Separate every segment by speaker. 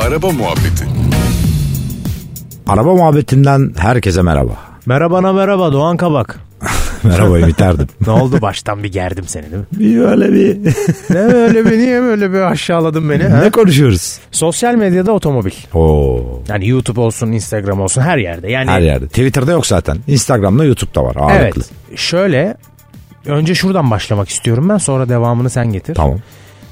Speaker 1: Araba muhabbeti.
Speaker 2: Araba muhabbetinden herkese merhaba.
Speaker 3: Merhabana merhaba Doğan Kabak.
Speaker 2: Merhaba Ümit Erdim.
Speaker 3: Ne oldu baştan bir gerdim seni değil mi?
Speaker 2: bir öyle bir
Speaker 3: Ne öyle beni niye böyle bir aşağıladın beni? ha?
Speaker 2: ne konuşuyoruz?
Speaker 3: Sosyal medyada otomobil.
Speaker 2: Oo.
Speaker 3: Yani YouTube olsun Instagram olsun her yerde. Yani
Speaker 2: Her yerde. Twitter'da yok zaten. Instagram'da YouTube'da var
Speaker 3: Evet
Speaker 2: ağırlıklı.
Speaker 3: şöyle önce şuradan başlamak istiyorum ben sonra devamını sen getir.
Speaker 2: Tamam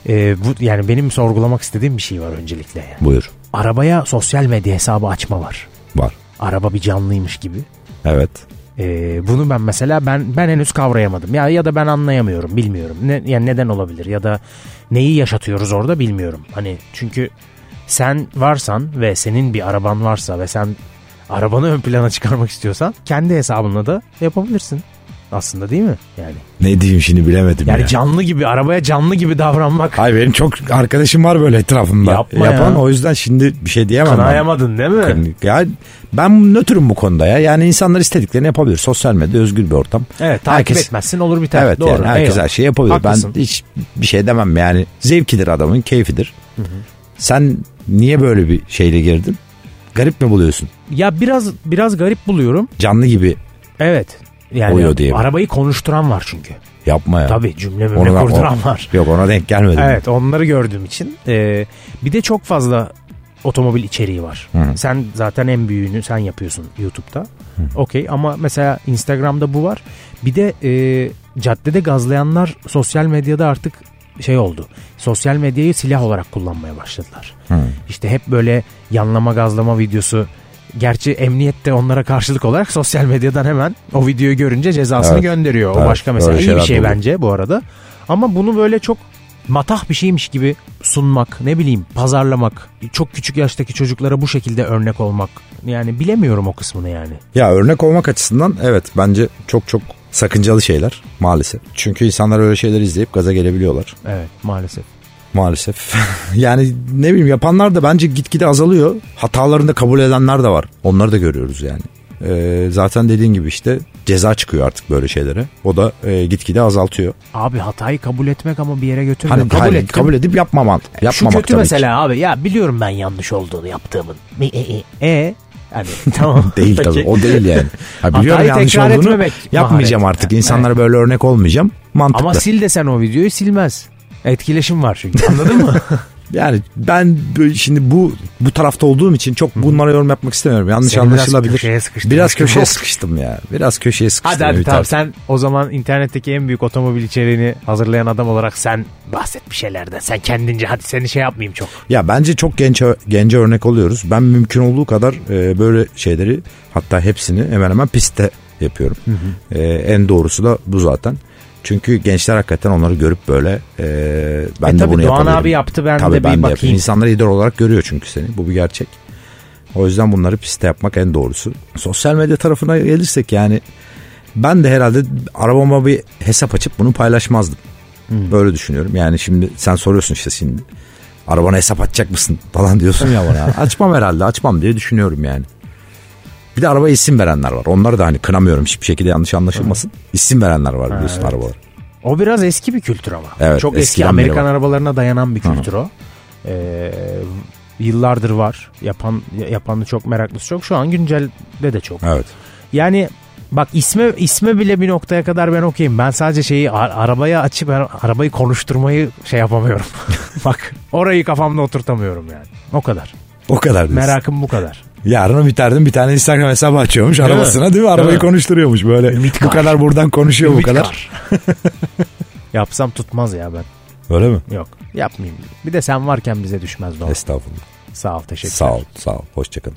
Speaker 3: Ee, bu Yani benim sorgulamak istediğim bir şey var öncelikle. yani.
Speaker 2: buyur.
Speaker 3: Arabaya sosyal medya hesabı açma var.
Speaker 2: Var.
Speaker 3: Araba bir canlıymış gibi.
Speaker 2: Evet.
Speaker 3: Ee, bunu ben mesela ben ben henüz kavrayamadım. Ya ya da ben anlayamıyorum, bilmiyorum. Ne yani neden olabilir ya da neyi yaşatıyoruz orada bilmiyorum. Hani çünkü sen varsan ve senin bir araban varsa ve sen arabanı ön plana çıkarmak istiyorsan kendi hesabınla da yapabilirsin. Aslında değil mi? Yani
Speaker 2: Ne diyeyim şimdi bilemedim
Speaker 3: yani
Speaker 2: ya.
Speaker 3: canlı gibi arabaya canlı gibi davranmak
Speaker 2: Hayır benim çok arkadaşım var böyle etrafımda.
Speaker 3: Yapma
Speaker 2: Yapan
Speaker 3: ya.
Speaker 2: o yüzden şimdi bir şey diyemem. ben.
Speaker 3: kınayamadın değil mi?
Speaker 2: Ya ben nötrüm bu konuda ya. Yani insanlar istediklerini yapabilir. Sosyal medya özgür bir ortam.
Speaker 3: Evet takip
Speaker 2: Herkes-
Speaker 3: etmezsin olur biter.
Speaker 2: Evet
Speaker 3: Doğru.
Speaker 2: yani herkes
Speaker 3: eyvallah.
Speaker 2: her şeyi yapabilir.
Speaker 3: Haklısın.
Speaker 2: Ben hiç bir şey demem yani. Zevkidir adamın, keyfidir. Sen niye böyle bir şeyle girdin? Garip mi buluyorsun?
Speaker 3: Ya biraz biraz garip buluyorum.
Speaker 2: Canlı gibi
Speaker 3: Evet. Yani
Speaker 2: Oluyor diye mi?
Speaker 3: arabayı konuşturan var çünkü.
Speaker 2: yapma ya.
Speaker 3: Tabii cümlemi
Speaker 2: Onu da-
Speaker 3: kurduran
Speaker 2: o-
Speaker 3: var.
Speaker 2: Yok ona denk gelmedim.
Speaker 3: Evet onları gördüğüm için. Ee, bir de çok fazla otomobil içeriği var.
Speaker 2: Hı.
Speaker 3: Sen zaten en büyüğünü sen yapıyorsun YouTube'da. Okey ama mesela Instagram'da bu var. Bir de e, caddede gazlayanlar sosyal medyada artık şey oldu. Sosyal medyayı silah olarak kullanmaya başladılar.
Speaker 2: Hı.
Speaker 3: İşte hep böyle yanlama gazlama videosu. Gerçi emniyet de onlara karşılık olarak sosyal medyadan hemen o videoyu görünce cezasını
Speaker 2: Evet.
Speaker 3: gönderiyor. O
Speaker 2: Evet,
Speaker 3: başka mesela
Speaker 2: böyle
Speaker 3: iyi bir
Speaker 2: şeyler de
Speaker 3: şey
Speaker 2: oluyor.
Speaker 3: bence bu arada. Ama bunu böyle çok matah bir şeymiş gibi sunmak, ne bileyim pazarlamak, çok küçük yaştaki çocuklara bu şekilde örnek olmak. Yani bilemiyorum o kısmını yani.
Speaker 2: Ya örnek olmak açısından evet bence çok çok sakıncalı şeyler maalesef. Çünkü insanlar öyle şeyler izleyip gaza gelebiliyorlar
Speaker 3: Evet maalesef.
Speaker 2: maalesef. yani ne bileyim yapanlar da bence gitgide azalıyor. Hatalarını da kabul edenler de var. Onları da görüyoruz yani. Ee, zaten dediğin gibi işte ceza çıkıyor artık böyle şeylere. O da e, gitgide azaltıyor.
Speaker 3: Abi hatayı kabul etmek ama bir yere götürmek.
Speaker 2: Hani
Speaker 3: kabul
Speaker 2: hani
Speaker 3: ettim.
Speaker 2: kabul edip yapmaman. Yapmamak
Speaker 3: Şu kötü
Speaker 2: tabii
Speaker 3: mesela abi ya biliyorum ben yanlış olduğunu yaptığımın. E e e. e? Hani tamam.
Speaker 2: ki. Değil
Speaker 3: Peki.
Speaker 2: tabii o değil yani. Ha, biliyorum
Speaker 3: Hatayı
Speaker 2: yanlış
Speaker 3: tekrar
Speaker 2: olduğunu
Speaker 3: etmemek
Speaker 2: yapmayacağım
Speaker 3: maharet.
Speaker 2: artık. İnsanlara böyle örnek olmayacağım. Mantıklı.
Speaker 3: Ama sil desen o videoyu silmez. Etkileşim var çünkü anladın mı?
Speaker 2: Yani ben böyle şimdi bu bu tarafta olduğum için çok bunlara yorum yapmak istemiyorum. Yanlış
Speaker 3: Seni biraz
Speaker 2: anlaşılabilir.
Speaker 3: köşeye sıkıştırmış
Speaker 2: Biraz
Speaker 3: gibi
Speaker 2: köşeye
Speaker 3: oldu.
Speaker 2: sıkıştım ya. Biraz köşeye sıkıştım.
Speaker 3: Hadi abi
Speaker 2: Ümit
Speaker 3: tamam
Speaker 2: abi.
Speaker 3: sen o zaman internetteki en büyük otomobil içeriğini hazırlayan adam olarak sen bahset bir şeylerden. Sen kendince hadi seni şey yapmayayım çok.
Speaker 2: Ya bence çok genç gence örnek oluyoruz. Ben mümkün olduğu kadar e, böyle şeyleri hatta hepsini hemen hemen pistte yapıyorum. E, en doğrusu da bu zaten. Çünkü gençler hakikaten onları görüp böyle e, ben
Speaker 3: E
Speaker 2: de
Speaker 3: tabii
Speaker 2: bunu
Speaker 3: Doğan
Speaker 2: yapabilirim.
Speaker 3: abi yaptı, ben
Speaker 2: Tabii
Speaker 3: de bir
Speaker 2: ben
Speaker 3: bakayım.
Speaker 2: yapayım. İnsanlar idol olarak görüyor çünkü seni. Bu bir gerçek. O yüzden bunları piste yapmak en doğrusu. Sosyal medya tarafına gelirsek yani ben de herhalde arabama bir hesap açıp bunu paylaşmazdım. Böyle düşünüyorum. Yani şimdi sen soruyorsun işte şimdi. Arabana hesap açacak mısın falan diyorsun ya bana. açmam herhalde açmam diye düşünüyorum yani. Bir de arabaya isim verenler var. Onları da hani kınamıyorum hiçbir şekilde yanlış anlaşılmasın. İsim verenler var biliyorsun
Speaker 3: evet.
Speaker 2: arabalara.
Speaker 3: O biraz eski bir kültür ama.
Speaker 2: Evet,
Speaker 3: çok eski
Speaker 2: eskiden
Speaker 3: Amerikan
Speaker 2: beri var.
Speaker 3: arabalarına dayanan bir kültür o. Ee, yıllardır var. Yapan yapanı çok meraklısı çok. Şu an güncelde de çok.
Speaker 2: Evet.
Speaker 3: Yani bak isme isme bile bir noktaya kadar ben okuyayım. Ben sadece şeyi a- arabaya açıp ben arabayı konuşturmayı şey yapamıyorum. bak orayı kafamda oturtamıyorum yani. O kadar.
Speaker 2: O kadar diyorsun.
Speaker 3: Merakım bu kadar.
Speaker 2: Yarın biterdim bir tane Instagram hesabı açıyormuş
Speaker 3: mi?
Speaker 2: arabasına değil mi? Arabayı
Speaker 3: Değil mi?
Speaker 2: konuşturuyormuş böyle. bu
Speaker 3: Kar.
Speaker 2: kadar buradan konuşuyor
Speaker 3: Ümit
Speaker 2: bu kadar.
Speaker 3: Kar. Yapsam tutmaz ya ben.
Speaker 2: Öyle mi?
Speaker 3: Yok yapmayayım. Bir de sen varken bize düşmez Doğan.
Speaker 2: Estağfurullah.
Speaker 3: Sağ ol teşekkürler.
Speaker 2: Sağ ol, sağ ol. Hoşçakalın.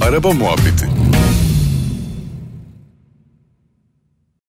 Speaker 1: Araba muhabbeti.